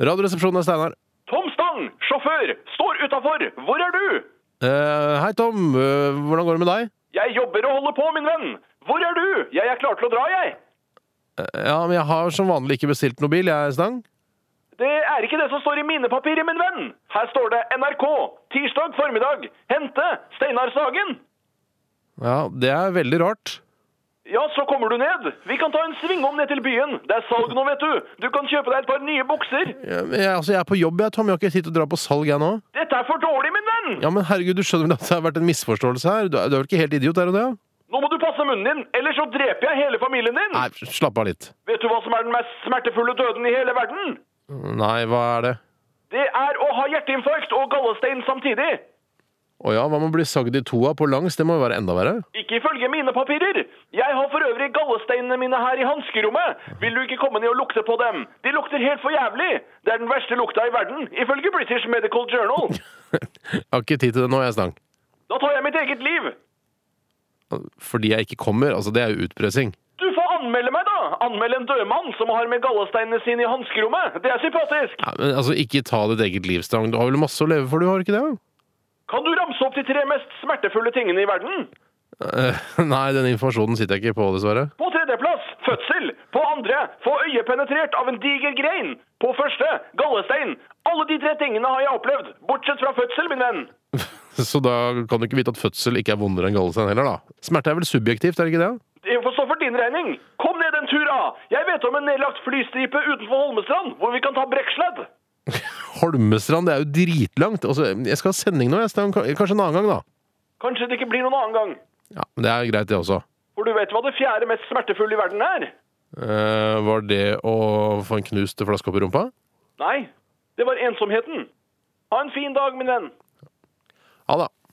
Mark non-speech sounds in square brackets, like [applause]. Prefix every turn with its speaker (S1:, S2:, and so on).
S1: Radioresepsjonen er Steinar.
S2: Tom Stang, sjåfør, står utafor! Hvor er du?
S1: Eh, hei, Tom. Eh, hvordan går det med deg?
S2: Jeg jobber og holder på, min venn! Hvor er du? Jeg er klar til å dra, jeg!
S1: Eh, ja, men jeg har som vanlig ikke bestilt noen bil, jeg, Stang.
S2: Det er ikke det som står i minepapiret, min venn! Her står det NRK, tirsdag formiddag, hente Steinar Sagen!
S1: Ja, det er veldig rart.
S2: Ja, så kommer du ned. Vi kan ta en svingom ned til byen. Det er salg nå, vet du. Du kan kjøpe deg et par nye bukser.
S1: Ja, men jeg, altså, jeg er på jobb, jeg, Tom. Jeg har ikke tid til å dra på salg, jeg nå.
S2: Dette er for dårlig, min venn!
S1: Ja, men herregud, du skjønner vel at det har vært en misforståelse her? Du er, du er vel ikke helt idiot, er du det?
S2: Nå må du passe munnen din, ellers så dreper jeg hele familien din!
S1: Nei, slapp av litt.
S2: Vet du hva som er den mest smertefulle døden i hele verden?
S1: Nei, hva er det?
S2: Det er å ha hjerteinfarkt og gallestein samtidig.
S1: Å ja, hva med å bli sagd i to av på langs? Det må jo være enda verre.
S2: Ikke ifølge mine papirer. Jeg har for øvrig gallesteinene mine her i hanskerommet. Vil du ikke komme ned og lukte på dem? De lukter helt for jævlig. Det er den verste lukta i verden, ifølge British Medical Journal.
S1: Jeg har ikke tid til det nå, jeg, Stang.
S2: Da tar jeg mitt eget liv.
S1: Fordi jeg ikke kommer. Altså, det er jo utpressing.
S2: Du får anmelde meg, da. Anmeld en dødmann som har med gallesteinene sine i hanskerommet. Det er sympatisk.
S1: Ja, men altså, ikke ta ditt eget liv, Stang. Du har vel masse å leve for, du har ikke det?
S2: Kan du ramse opp de tre mest smertefulle tingene i verden?
S1: Eh, [laughs] nei, den informasjonen sitter jeg ikke på, dessverre.
S2: På tredjeplass fødsel. På andre få øyet penetrert av en diger grein. På første gallestein. Alle de tre tingene har jeg opplevd, bortsett fra fødsel, min venn.
S1: Så da kan du ikke vite at fødsel ikke er vondere enn gallestein heller, da. Smerte er vel subjektivt, er det ikke det?
S2: Det får stå for din regning. Kom ned en tur, da! Jeg vet om en nedlagt flystripe utenfor Holmestrand, hvor vi kan ta brekksledd.
S1: Holmestrand, det er jo dritlangt. Altså, jeg skal ha sending nå, jeg. Stang. Kanskje en annen gang, da.
S2: Kanskje det ikke blir noen annen gang.
S1: Ja, men Det er greit, det også.
S2: For du vet hva det fjerde mest smertefulle i verden er?
S1: Eh, var det å få en knust flaske opp i rumpa?
S2: Nei, det var ensomheten. Ha en fin dag, min venn.
S1: Ja da.